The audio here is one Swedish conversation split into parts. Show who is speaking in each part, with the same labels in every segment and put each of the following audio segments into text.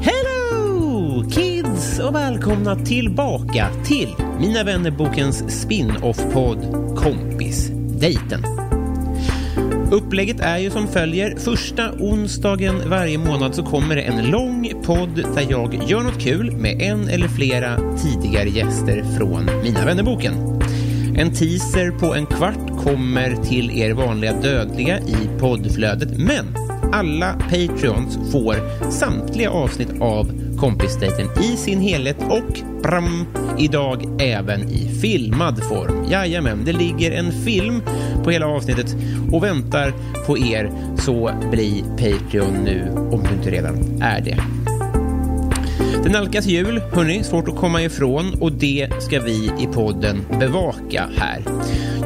Speaker 1: Hello kids och välkomna tillbaka till Mina vänner-bokens spin-off-podd Kompisdejten. Upplägget är ju som följer. Första onsdagen varje månad så kommer det en lång podd där jag gör något kul med en eller flera tidigare gäster från Mina vännerboken. En teaser på en kvart kommer till er vanliga dödliga i poddflödet men alla Patreons får samtliga avsnitt av Kompisdejten i sin helhet och pram, idag även i filmad form. Jajamän, det ligger en film på hela avsnittet och väntar på er så bli Patreon nu om du inte redan är det. Det nalkas jul, hörni, svårt att komma ifrån och det ska vi i podden bevaka här.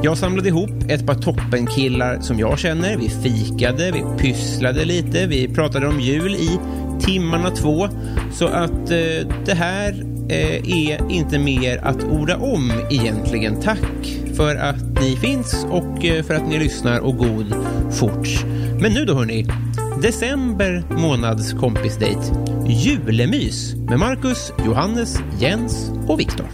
Speaker 1: Jag samlade ihop ett par toppenkillar som jag känner. Vi fikade, vi pysslade lite, vi pratade om jul i timmarna två. Så att eh, det här eh, är inte mer att orda om egentligen. Tack för att ni finns och eh, för att ni lyssnar och god forts. Men nu då hörni, December månads kompisdejt. Julemys med Marcus, Johannes, Jens och Viktor.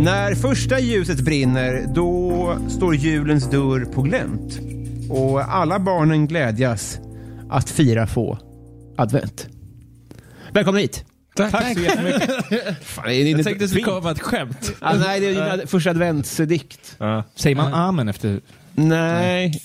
Speaker 1: När första ljuset brinner, då står julens dörr på glänt. Och alla barnen glädjas att fira få advent. Välkommen hit!
Speaker 2: Tack, så jättemycket.
Speaker 1: Fan, är ni-
Speaker 2: Jag tänkte att det skulle komma ett skämt.
Speaker 1: Ah, nej, det är ju en ad- första adventsdikt.
Speaker 2: Säger man amen efter?
Speaker 1: Nej.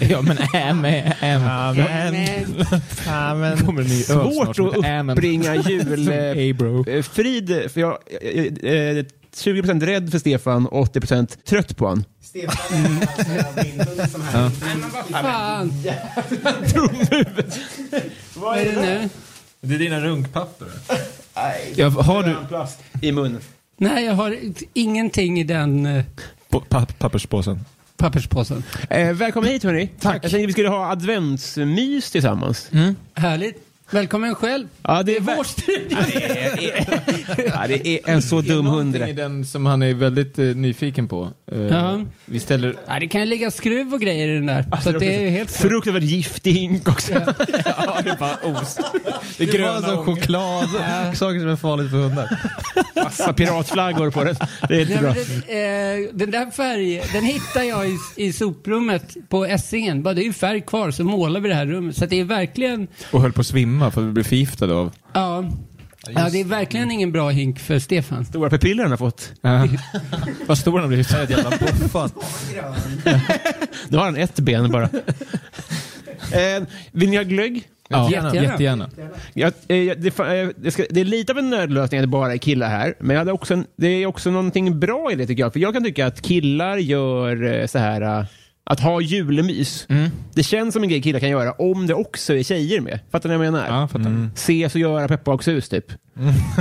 Speaker 2: Ja, men amen. Amen. Amen. Kommer en ny öl
Speaker 1: Svårt
Speaker 2: snart som
Speaker 1: att
Speaker 2: heter amen.
Speaker 1: uppbringa jul... eh,
Speaker 2: Hey bro.
Speaker 1: eh, Frid, för jag eh, eh, eh, 20% rädd för Stefan och 80% trött på han.
Speaker 3: Stefan är alltså min hund som här.
Speaker 4: Fan! Vad är det nu?
Speaker 2: Det är dina runkpapper.
Speaker 1: Jag, har du... plast i munnen.
Speaker 4: Nej, jag har ingenting i den eh,
Speaker 2: papperspåsen.
Speaker 4: papperspåsen.
Speaker 1: Eh, välkommen hit hörni. Tack. Jag tänkte vi skulle ha adventsmys tillsammans.
Speaker 4: Härligt. Välkommen själv.
Speaker 1: Ja, det är
Speaker 4: Vår studio.
Speaker 1: ja, det är en så dum hund det
Speaker 5: Det är
Speaker 1: där.
Speaker 5: den som han är väldigt eh, nyfiken på. Eh,
Speaker 4: Ja.
Speaker 5: Vi ställer...
Speaker 4: Ja, det kan ju ligga skruv och grejer i den där.
Speaker 1: Alltså,
Speaker 4: så att Alltså, det är ju helt...
Speaker 1: Fruktansvärt giftig hink också.
Speaker 2: Det
Speaker 5: gröna
Speaker 2: är gröna
Speaker 5: ångor.
Speaker 2: choklad. Saker som är farligt för hundar.
Speaker 1: Massa piratflaggor på den. Det är
Speaker 4: Nej,
Speaker 1: jättebra.
Speaker 4: men det, eh, den där färgen, den hittar jag i, i soprummet på Essingen. Bara det är ju färg kvar så målar vi det här rummet. Så att det är verkligen,
Speaker 5: Och höll på att svimma för att vi blev förgiftade av...
Speaker 4: ja, ja det är verkligen ingen bra hink för Stefan.
Speaker 1: Stora pupiller han har fått.
Speaker 5: Vad stor han blev. Ett jävla boffat.
Speaker 1: Nu har han ett ben bara. eh, vill ni ha glögg?
Speaker 5: Ja,
Speaker 4: Jättegärna.
Speaker 5: jättegärna. jättegärna.
Speaker 1: Jag, eh, jag- det, fa- eh, det, ska, det är lite av en nödlösning att det bara är killar här. Men jag hade också en, det är också någonting bra i det tycker jag. För jag kan tycka att killar gör eh, så här... eh, Att ha julemys. Det känns som en grej killar kan göra om det också är tjejer med. Fattar ni vad jag menar?
Speaker 5: Ja, fattar.
Speaker 1: Ses och göra pepparkakshus typ.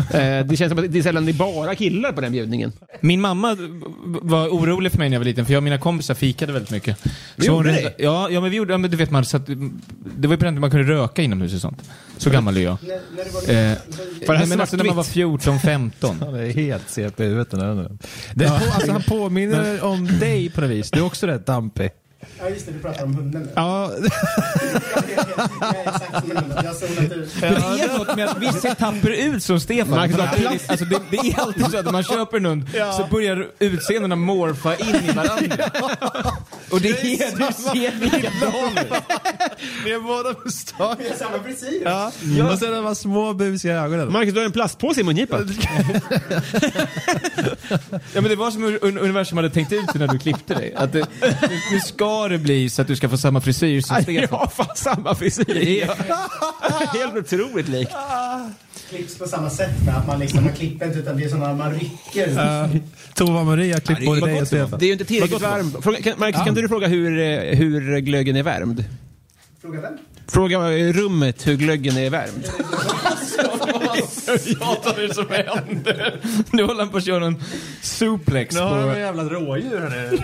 Speaker 1: eh, det känns som att det är sällan det är bara killar på den bjudningen.
Speaker 5: Min mamma var orolig för mig när jag var liten, för jag och mina kompisar fikade väldigt mycket. Så
Speaker 1: gjorde
Speaker 5: hon-
Speaker 1: ni?
Speaker 5: ja, ja, men vi gjorde, ja, men du vet man, så att, det var ju på den tiden man kunde röka inomhus och sånt. Så gammal är jag.
Speaker 3: När, när det var
Speaker 5: Eh, nej, men alltså när man var
Speaker 1: svartvitt?
Speaker 5: 14, 15.
Speaker 2: Han är helt CP i huvudet den här hunden. Det, alltså, han påminner om dig på något vis. Du är också rätt dampig.
Speaker 3: Ja, just det. Du pratar om hunden nu.
Speaker 2: Ja,
Speaker 3: Jag vet, jag är exakt som en hund. Jag har zonat ut.
Speaker 6: Det är något med att vissa tappar ut som Stefan.
Speaker 2: Max,
Speaker 6: För att
Speaker 2: ja.
Speaker 6: det- Alltså, det, det är alltid så att när man köper en hund så börjar utseendena morfa in i varandra. Och det är, du ser likadan ut.
Speaker 2: vi har båda mustasch.
Speaker 3: Vi har samma frisyr.
Speaker 2: Ja. Och sen de här små busiga ögonen.
Speaker 1: Marcus, du har en plastpåse i mungipan.
Speaker 6: Ja, men det var som un- un- universum hade tänkt ut det när du klippte dig. Att det, nu- nu ska det bli så att du ska få samma frisyr som
Speaker 1: Jag
Speaker 6: Stefan.
Speaker 1: har fan samma frisyr. Helt otroligt likt.
Speaker 3: Klipps på samma sätt med att man liksom, man klipper inte utan det är sådana man rycker.
Speaker 2: Tova Maria klippt både dig och Stefan.
Speaker 1: Det är ju inte tillräckligt varmt. Fråga, kan, Marcus, kan inte du fråga hur, eh, hur glöggen är värmd?
Speaker 3: Fråga vem?
Speaker 1: Fråga eh, rummet hur glöggen är värmd.
Speaker 6: Jag tar det som händer. Nu håller han på att köra en suplex på...
Speaker 2: jävla rådjur nu.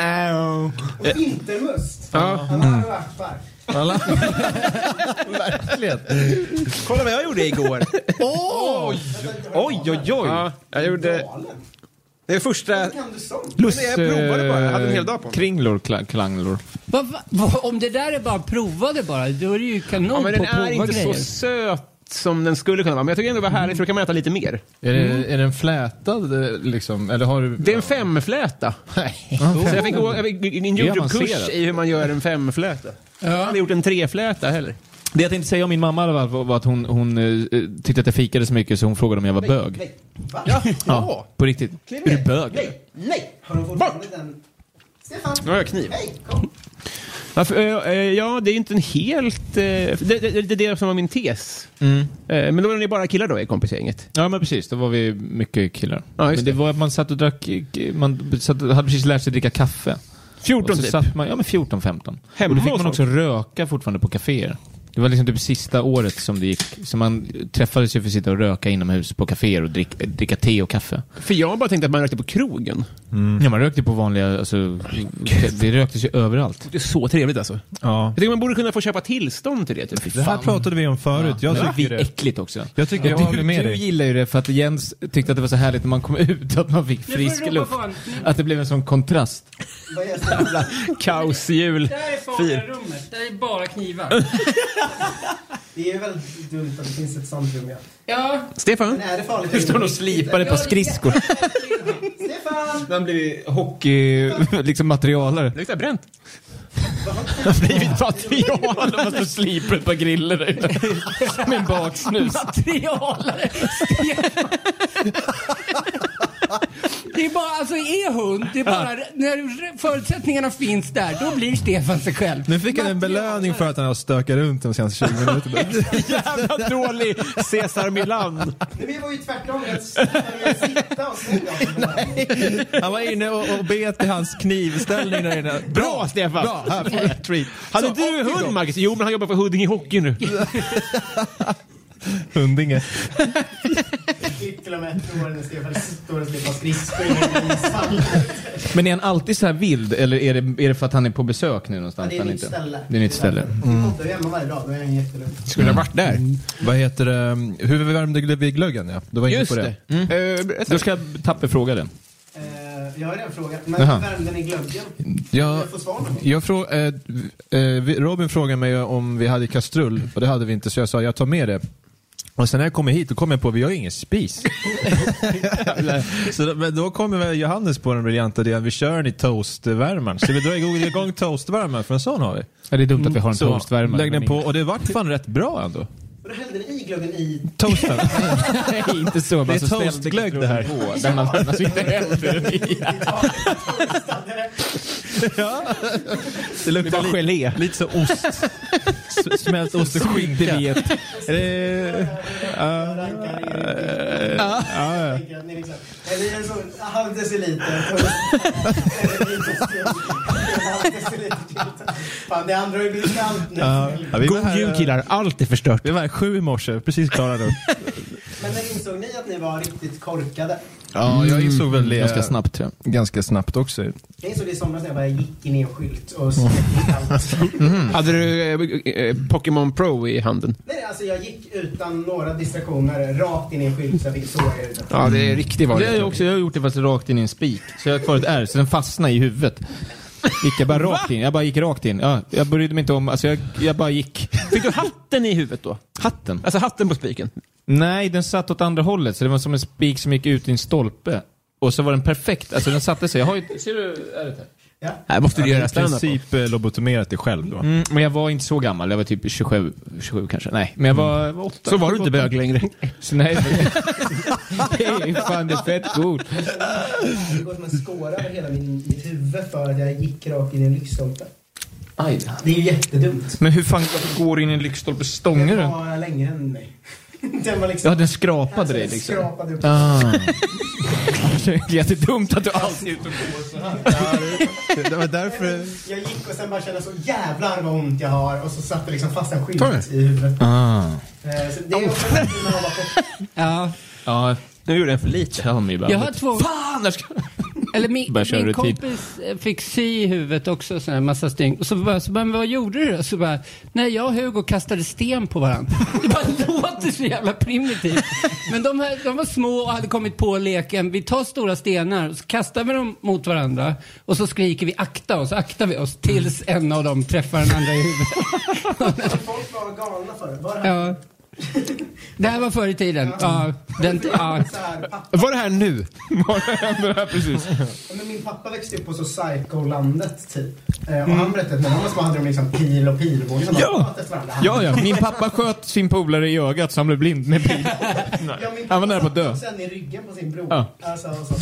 Speaker 1: Äh,
Speaker 3: Och vintermust. Han har örtbark.
Speaker 2: Verkligen.
Speaker 1: Kolla vad jag gjorde igår.
Speaker 6: Oj, oj, oj!
Speaker 1: ja, jag gjorde...
Speaker 3: Galen.
Speaker 1: Det är första...
Speaker 3: Kan du sånt?
Speaker 1: Lust, eh, jag provade bara. Jag hade en hel dag på mig.
Speaker 6: Kringlor, kla- klanglor.
Speaker 4: Va, va, va, om det där är bara provade bara, då är det ju kanon
Speaker 1: Ja, men
Speaker 4: på
Speaker 1: den
Speaker 4: att prova
Speaker 1: är inte
Speaker 4: grejer.
Speaker 1: så söt som den skulle kunna vara. Men jag tycker ändå det var härligt för då kan man äta lite mer.
Speaker 5: Är,
Speaker 6: Mm.
Speaker 5: det, är den flätad eh, liksom? Eller har du...
Speaker 1: Det är en femfläta.
Speaker 5: Nej.
Speaker 1: Så jag fick gå jag fick en Youtube-kurs
Speaker 5: avancerat.
Speaker 1: i hur man gör en femfläta. Jag har aldrig gjort en trefläta heller.
Speaker 5: Det jag tänkte säga om min mamma i alla fall var- var att hon, hon eh, tyckte att jag fikade så mycket så hon frågade om jag var bög.
Speaker 1: Ja,
Speaker 5: Ja, på riktigt. Är du bög?
Speaker 3: Nej! Har de fortfarande den? Stefan!
Speaker 1: Nu har jag kniv.
Speaker 3: Hej, kom!
Speaker 1: Varför, eh, eh, ja, det är ju inte en helt... eh, Det, det, det, det är det som var min tes. Eh, Men då var ni bara killar då i kompisgänget?
Speaker 5: Ja, men precis. Då var vi mycket killar.
Speaker 1: Ja, just
Speaker 5: men det
Speaker 1: det.
Speaker 5: var att man satt och drack... Man satt, hade precis lärt sig dricka kaffe.
Speaker 1: 14
Speaker 5: och så
Speaker 1: typ.
Speaker 5: satt man, ja men 14, 15.
Speaker 1: Hemma
Speaker 5: och då fick
Speaker 1: hos
Speaker 5: man
Speaker 1: folk.
Speaker 5: också röka fortfarande på kaféer. Det var liksom typ sista året som det gick. Så man träffades ju för att sitta och röka inomhus på kaféer och drick, dricka te och kaffe.
Speaker 1: För jag bara tänkte att man rökte på krogen. Mm.
Speaker 5: Ja, man rökte på vanliga, alltså, det röktes ju överallt.
Speaker 1: Det är så trevligt alltså.
Speaker 2: Ja.
Speaker 1: Jag tycker man borde kunna få köpa tillstånd till det. Typ.
Speaker 2: Det här pratade vi om förut. Jag
Speaker 5: det
Speaker 2: tycker
Speaker 5: var
Speaker 2: det.
Speaker 5: äckligt också.
Speaker 2: Jag tycker jag håller
Speaker 5: du,
Speaker 2: med
Speaker 5: du
Speaker 2: dig.
Speaker 5: gillar ju det för att Jens tyckte att det var så härligt när man kom ut, att man fick
Speaker 4: får
Speaker 5: frisk
Speaker 4: ropa
Speaker 5: luft.
Speaker 4: fan.
Speaker 5: Att det blev en sån kontrast.
Speaker 3: Vad är Stefan?
Speaker 1: Kaosjul.
Speaker 4: Där är farliga rummet, där är bara knivar.
Speaker 3: Det är väl dumt att det finns ett sånt rum ja.
Speaker 4: Ja,
Speaker 3: Men
Speaker 1: Stefan?
Speaker 3: är det farligt?
Speaker 6: Du står och slipar ett par skridskor.
Speaker 3: Stefan!
Speaker 6: Han blir hockey... liksom materialare.
Speaker 1: Det luktar bränt.
Speaker 6: Blivit material och man står och sliper ett par griller där ute. Med en baksnus.
Speaker 4: materialare. Det är bara, alltså är hund, det är bara, när förutsättningarna finns där, då blir Stefan sig själv.
Speaker 2: Nu fick han en belöning för att han har stökat runt de senaste 20 minuterna.
Speaker 1: Jävla dålig Cesar Milan.
Speaker 3: Nej, men jag var ju tvärtom. Jag jag sitta och slå Nej.
Speaker 2: Han var inne och, och bet i hans knivställning där inne.
Speaker 1: Bra Stefan!
Speaker 2: Bra, här får du en treat.
Speaker 1: Hade inte du hund Marcus? Jo, men han jobbar för Huddinge Hockey nu.
Speaker 2: Hundinge.
Speaker 3: Fick till och med ett år när Stefan står och slipar skridskor i ishallen.
Speaker 5: Men är han alltid så här vild eller är det, är det för att han är på besök nu någonstans?
Speaker 3: Ja, det är
Speaker 5: Han
Speaker 3: nytt
Speaker 5: inte-
Speaker 3: ställe.
Speaker 5: Det är nytt ställe. Mm.
Speaker 3: Vi poddar ju hemma varje dag, då är han jättelugn.
Speaker 1: Skulle ha varit där.
Speaker 2: Vad heter det? Hur värmde vi glöggen? Ja. Du var inne
Speaker 1: Just
Speaker 2: på det.
Speaker 1: det. Eh, berätta.
Speaker 5: Då ska Tappe fråga den.
Speaker 3: Eh, Jag har redan frågat, men
Speaker 5: Jaha.
Speaker 3: värmde ni glöggen?
Speaker 2: Jag,
Speaker 3: Jag får svar någon gång.
Speaker 2: jag frå, eh, eh, vi- Robin frågade mig om vi hade kastrull och det hade vi inte så jag sa jag tar med det. Och sen när jag kommer hit då kom jag på att vi har ju ingen spis. så då, men då kommer väl Johannes på den briljanta idén vi kör den i toastvärmaren. Så vi drar igång, igång toastvärmaren för en sån har vi.
Speaker 5: Ja, det är dumt att vi har en
Speaker 2: Så,
Speaker 5: toastvärmare.
Speaker 2: lägg den
Speaker 5: men
Speaker 2: på och det vart fan rätt bra ändå.
Speaker 3: Och då hällde ni i glöggen i...
Speaker 2: Toasten.
Speaker 5: Nej, inte så.
Speaker 2: Det är
Speaker 5: Man så ställde
Speaker 2: toastglögg det här.
Speaker 5: på. Där man annars inte äter den i.
Speaker 2: Det luktar
Speaker 1: bara gelé.
Speaker 2: lite, lite så ost. S- Smält ost och skinka. Är det-
Speaker 3: Eller en sån halv deciliter. Eller lite skum. En halv deciliter kryddor. Fan, det andra har ju blivit kallt nu.
Speaker 2: Ja, vi var
Speaker 1: God
Speaker 2: här,
Speaker 1: jul killar. Allt är förstört.
Speaker 2: Vi var här sju i morse, precis klara nu.
Speaker 3: Men när insåg ni att ni var riktigt korkade?
Speaker 2: Ja, jag insåg väl det
Speaker 5: Mm. Ganska snabbt tror jag.
Speaker 2: ganska snabbt också.
Speaker 3: Jag insåg det i somras när jag bara gick in i en skylt och skrek ut allt.
Speaker 1: Hade du eh, eh, Pokémon Pro i handen?
Speaker 3: Nej, alltså jag gick utan några distraktioner rakt in i en skylt så jag fick såga ut den.
Speaker 1: Ja, Mm. det är riktigt
Speaker 5: Det har jag, också, jag har gjort det fast rakt in i en spik. Så jag har kvar ett ärr, så den fastnade i huvudet. Gick jag bara rakt in. Jag bara gick rakt in. Ja, jag brydde mig inte om, alltså jag, jag bara gick.
Speaker 1: Fick du hatten i huvudet då?
Speaker 5: Hatten?
Speaker 1: Alltså hatten på spiken?
Speaker 5: Nej, den satt åt andra hållet, så det var som en spik som gick ut i en stolpe. Och så var den perfekt, alltså den satte sig. Jag har ju, ser du ärret här?
Speaker 1: Nej, måste du göra
Speaker 2: I
Speaker 1: standup på.
Speaker 2: princip eh, lobotomerat dig själv då.
Speaker 5: Mm, men jag var inte så gammal, jag var typ 27, 27 kanske. Nej, men jag var, var åtta.
Speaker 1: Så var du inte bög längre.
Speaker 5: Så nej, men- det är fan det är fett god.
Speaker 3: Det går som en skåra över hela min, mitt huvud för att jag gick rakt in i en lyktstolpe. Det är ju jättedumt.
Speaker 6: Men hur fan går du in i en lyktstolpe? Stångar
Speaker 3: Den
Speaker 6: den?
Speaker 3: var längre än mig. Den var liksom...
Speaker 5: Ja, den skrapade
Speaker 3: Alltså,
Speaker 5: dig
Speaker 3: den
Speaker 5: liksom.
Speaker 3: Skrapade upp.
Speaker 5: Det är jättedumt att du alltid...
Speaker 2: Det var därför...
Speaker 3: Jag gick och sen bara kände så jävlar vad ont jag har och så satt det liksom fast en skylt i huvudet.
Speaker 5: Ah.
Speaker 3: Eh, Så det är också när man var på
Speaker 4: Ja,
Speaker 5: Ja,
Speaker 1: Nu gjorde jag för lite.
Speaker 5: tell me about
Speaker 4: jag har
Speaker 5: it.
Speaker 4: två...
Speaker 5: Fan, där ska...
Speaker 4: Eller min,
Speaker 5: Bara köra
Speaker 4: min
Speaker 5: rutin.
Speaker 4: kompis eh, fick sy i huvudet också, sån här massa stygn. Och så bara, så bara, men vad gjorde du då? Så bara, nej jag och Hugo kastade sten på varandra. Det bara låter så jävla primitivt. Men de, här, de var små och hade kommit på leken, vi tar stora stenar och så kastar vi dem mot varandra. Och så skriker vi akta oss, aktar vi oss tills
Speaker 5: Mm.
Speaker 4: en av dem träffar den andra i huvudet.
Speaker 3: folk var galna förr. Var det
Speaker 4: Ja. Det här var förr i tiden. Ja, den, ja.
Speaker 3: så här, pappa,
Speaker 1: Var det här nu?
Speaker 3: men min pappa växte upp på så psykolandet typ. Eh, Och han berättade att när han var små hade de liksom pil och pilbåge som
Speaker 5: Mm. Ja.
Speaker 3: bara sköt efter varandra.
Speaker 5: Ja, ja. Min pappa sköt sin polare i ögat så han blev blind med pil.
Speaker 3: Ja, min
Speaker 5: Han var nära på att
Speaker 3: pappa
Speaker 5: dö.
Speaker 3: satt Sen i ryggen på sin bror.
Speaker 5: Ja.
Speaker 3: Alltså, och så.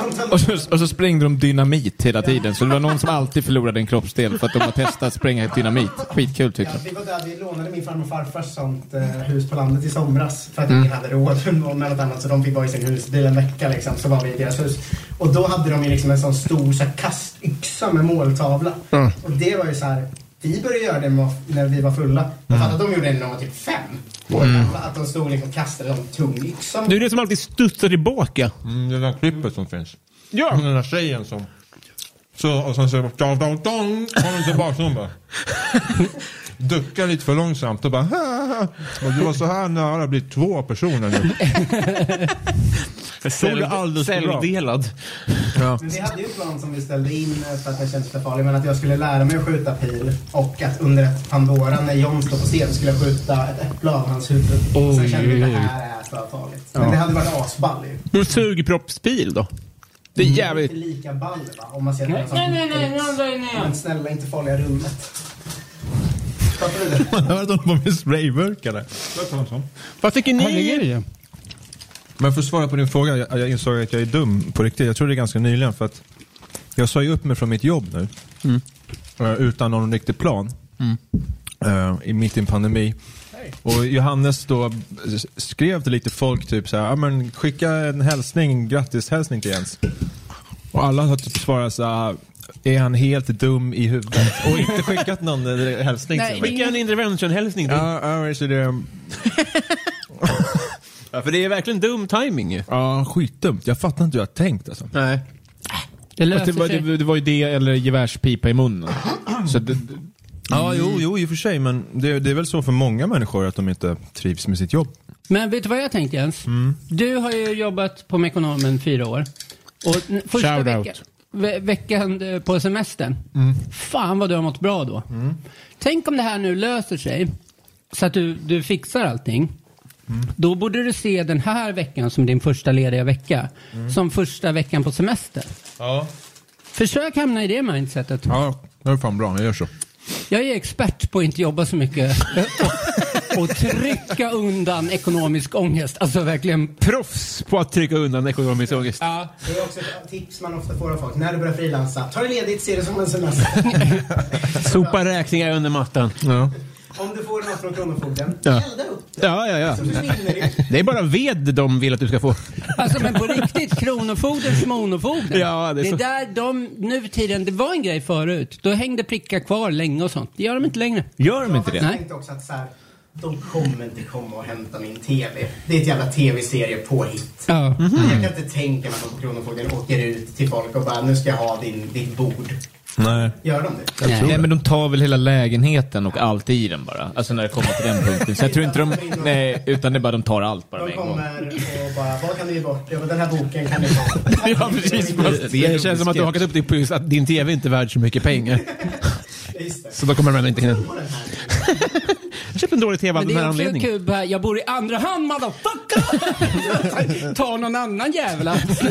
Speaker 3: Sånt han-
Speaker 5: Och så, och så sprängde de dynamit hela tiden, så det var någon som alltid förlorade en kroppsdel för att de har testat att spränga dynamit. Skitkul
Speaker 3: Ja,
Speaker 5: tyckte de.
Speaker 3: vi var där, vi lånade min farmor och farfars sånt eh, hus på landet i somras för att ingen hade råd med något annat så de fick vara i sin husbil en vecka liksom så var vi i deras hus. Och då hade de ju liksom en sån stor så här, kastyxa med måltavla. Och det var ju så här, vi började göra det med- när vi var fulla. Jag fattar att de gjorde det när de var typ fem. Måltavla, Att de stod liksom och kastade en sån tung yxa. mot-
Speaker 1: Du är den som alltid studsar tillbaka.
Speaker 2: Mm, det där klippet som finns.
Speaker 1: Ja.
Speaker 2: Den där tjejen som... Så, och sen så... Dong, dong, dong, kom hon tillbaka och hon bara... Duckar lite för långsamt och bara... Och du var så här nära att bli två personer nu. Såg det alldeles för bra.
Speaker 1: Celldelad.
Speaker 3: Men vi hade ju en plan som vi ställde in eh, för att den kändes för farlig. Men att jag skulle lära mig att skjuta pil och att under ett Pandora, när John står på scen, skulle jag skjuta ett äpple av hans huvud. Sen kände vi att det här är för farligt. Men det hade varit asball ju.
Speaker 1: Men sugproppspil då? Det är
Speaker 3: Det är inte
Speaker 5: Mm.
Speaker 1: jävligt...
Speaker 3: lika ball va? Om man ser
Speaker 4: Nej,
Speaker 3: den som
Speaker 4: nej, nej, nej, nu andra är
Speaker 3: Men
Speaker 4: ner.
Speaker 3: snälla, inte farliga rummet. Fattar du det?
Speaker 2: Man hörde honom med spraymurkare.
Speaker 1: Vad tycker
Speaker 4: Här ligger
Speaker 1: ni?
Speaker 4: det ju.
Speaker 2: Men för att svara på din fråga, jag, jag insåg att jag är dum på riktigt. Jag tror det är ganska nyligen för att jag sa ju upp mig från mitt jobb nu. Eh, Utan någon riktig plan. Eh, i mitt i en pandemi. Och Johannes då s- skrev till lite folk typ så här, "Ja, men skicka en hälsning, en grattishälsning till Jens. Och alla har typ svarat så här, är han helt dum i huvudet? Och inte skickat någon eh, hälsning
Speaker 4: Nej,
Speaker 2: till mig.
Speaker 1: Skicka en intervention-hälsning. till-
Speaker 2: Ja, ja, visst är det.
Speaker 1: Ja, för det är verkligen dum timing ju.
Speaker 2: Ja, skitdumt. Jag fattar inte hur jag har tänkt alltså.
Speaker 1: Nej.
Speaker 4: Det
Speaker 5: Fast det,
Speaker 4: löser
Speaker 5: var,
Speaker 4: sig.
Speaker 5: det, det var ju det eller gevärspipa i munnen. Så det,
Speaker 2: Ja, jo, jo, i och för sig. Men det, det är väl så för många människor att de inte trivs med sitt jobb.
Speaker 4: Men vet du vad jag tänkte Jens?
Speaker 5: Mm.
Speaker 4: Du har ju jobbat på Mekonomen fyra år. Och n- första
Speaker 5: Shout
Speaker 4: veckan,
Speaker 5: out. Mm.
Speaker 4: ve veckan eh, på semestern. Fan vad du har mått bra då. Tänk om det här nu löser sig så att du, du fixar allting.
Speaker 5: Mm.
Speaker 4: Då borde du se den här veckan som din första lediga vecka.
Speaker 5: Mm.
Speaker 4: Som första veckan på semestern.
Speaker 2: Ja.
Speaker 4: Försök hamna i det mindsetet.
Speaker 2: Ja, det är fan bra. Jag gör så.
Speaker 4: Jag är expert på att inte jobba så mycket. och, och trycka undan ekonomisk ångest. Alltså verkligen.
Speaker 1: Proffs på att trycka undan ekonomisk ångest.
Speaker 4: Ja.
Speaker 3: Det är också ett tips man ofta får av folk. När du börjar frilansa, ta det ledigt, se det som en semester.
Speaker 1: Sopa räkningar under mattan.
Speaker 2: Ja.
Speaker 3: Om du får något från Kronofogden,
Speaker 1: Ja.
Speaker 3: elda upp det.
Speaker 1: Ja, ja, ja.
Speaker 3: Så försvinner det.
Speaker 1: Det är bara ved de vill att du ska få.
Speaker 4: Alltså men på riktigt, kronofogdens monofogden.
Speaker 1: Ja, det är
Speaker 4: det är
Speaker 1: så.
Speaker 4: där de nu för tiden, det var en grej förut. Då hängde prickar kvar länge och sånt. Det gör de inte längre.
Speaker 5: gör de
Speaker 3: Jag
Speaker 5: inte
Speaker 3: har
Speaker 5: det?
Speaker 3: faktiskt tänkt också att så här, de kommer inte komma och hämta min TV. Det är ett jävla TV-serie påhitt.
Speaker 4: Ja.
Speaker 5: Mm.
Speaker 3: Jag kan inte tänka mig att de på Kronofogden åker ut till folk och bara nu ska jag ha din, ditt bord.
Speaker 2: Nej.
Speaker 3: Gör de det?
Speaker 5: Nej, men de tar väl hela lägenheten och allt i den bara. Alltså när det kommer till den punkten. Så jag tror inte de... Nej, utan det är bara de tar allt bara med
Speaker 3: De
Speaker 5: en gång.
Speaker 3: kommer och bara, vad kan du ge bort? Ja, men den här boken kan du ta.
Speaker 5: Ja, precis.
Speaker 2: Det känns som att du hakat upp dig på just att din tv inte är värd så mycket pengar.
Speaker 3: Just det.
Speaker 2: Så då kommer de ändå inte hinna.
Speaker 3: På den här.
Speaker 2: Jag köpte en dålig tv av
Speaker 4: Men det
Speaker 2: den här
Speaker 4: är också
Speaker 2: anledningen.
Speaker 4: kul, bara, jag bor i andra hand motherfucker! Ta någon annan jävel alltså.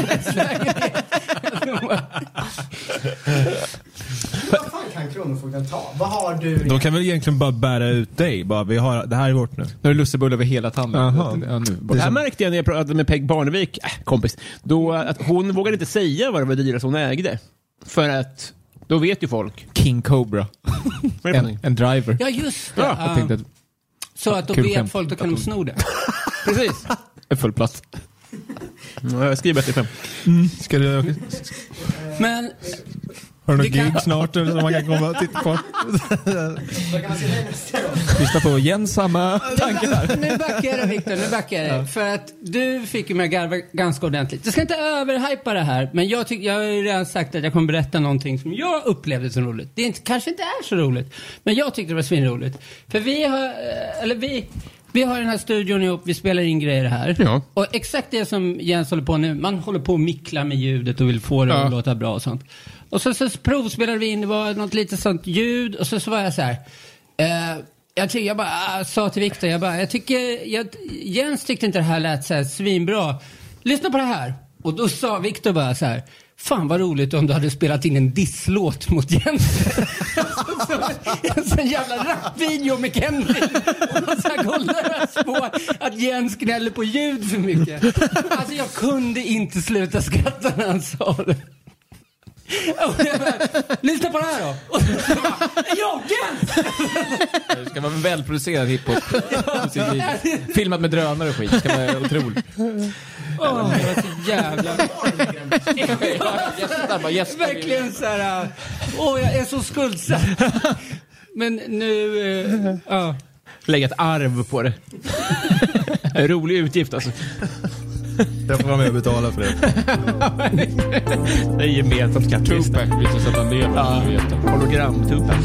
Speaker 3: Vad fan kan Kronofogden ta? Vad har du?
Speaker 2: De kan väl egentligen bara bära ut dig. Bara, vi har, det här är vårt nu.
Speaker 5: Nu är det lussebullar över hela tanden.
Speaker 2: Jaha.
Speaker 5: Ja, nu.
Speaker 2: Det
Speaker 5: Bort-
Speaker 2: här
Speaker 5: Ja, men-
Speaker 2: märkte jag när jag pratade med Peg Barnevik, äh, kompis, då eh, att hon vågade inte säga vad det var dyrast hon ägde. För att då vet ju folk.
Speaker 5: King Cobra.
Speaker 2: Vad är det för
Speaker 5: En,
Speaker 2: någonting?
Speaker 5: en driver.
Speaker 4: Ja, just det.
Speaker 2: Ja,
Speaker 5: Jag tänkte att...
Speaker 4: så att då
Speaker 5: Kul
Speaker 4: vet
Speaker 5: skämt.
Speaker 4: folk, då kan de sno det.
Speaker 2: Precis.
Speaker 5: En full plats.
Speaker 2: Ja, Jag skriver till fem.
Speaker 6: Ska du...
Speaker 4: Men
Speaker 2: Har du
Speaker 4: något gig
Speaker 2: snart som man kan komma och titta på?
Speaker 3: Vad kan man säga nästa gång?
Speaker 6: Lyssna på igen samma tanke där.
Speaker 4: nu backar jag dig, Viktor. Nu backar jag dig. För att du fick ju mig att garva ganska ordentligt. Jag ska inte överhypa det här, men jag, tyck, jag har ju redan sagt att jag kommer berätta någonting som jag upplevde som roligt. Det är inte, kanske inte är så roligt, men jag tyckte det var svinroligt. För vi har, eh, eller vi, vi har den här studion ihop, vi spelar in grejer här.
Speaker 5: Ja.
Speaker 4: Och exakt det som Jens håller på nu, man håller på och micklar med ljudet och vill få det
Speaker 5: Ja.
Speaker 4: att låta bra och sånt. Och så, så provspelade vi in, det var något litet sånt ljud och så, så var jag så här. Eh, jag, tycker, jag bara ah, sa till Viktor, jag bara, jag tycker, jag, Jens tyckte inte det här lät så här svinbra. Lyssna på det här. Och då sa Viktor bara så här. Fan vad roligt om du hade spelat in en disslåt mot Jens. en sån jävla rapvideo med Kenny. Och så här kollar på att Jens gnäller på ljud för mycket. Alltså jag kunde inte sluta skratta när han sa det. Och jag bara, Lyssna Oh, på det här då! Och så bara, "Ja, Jens!
Speaker 5: Det ska vara en välproducerad hiphop. Filmat med drönare och skit. Det ska vara otroligt.
Speaker 4: Åh, det var så jävla...
Speaker 5: Gästar bara gästar.
Speaker 4: Verkligen så här... äh, Åh, jag är så skuldsatt. Men nu... eh, Ja.
Speaker 2: Lägga ett arv på det. En rolig utgift alltså.
Speaker 6: Jag får vara med och betala för det.
Speaker 2: Det är gemensamt skattkista.
Speaker 5: Tupac visar sig att han lever. Ja.
Speaker 2: Hologram-Tupac.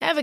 Speaker 7: Ever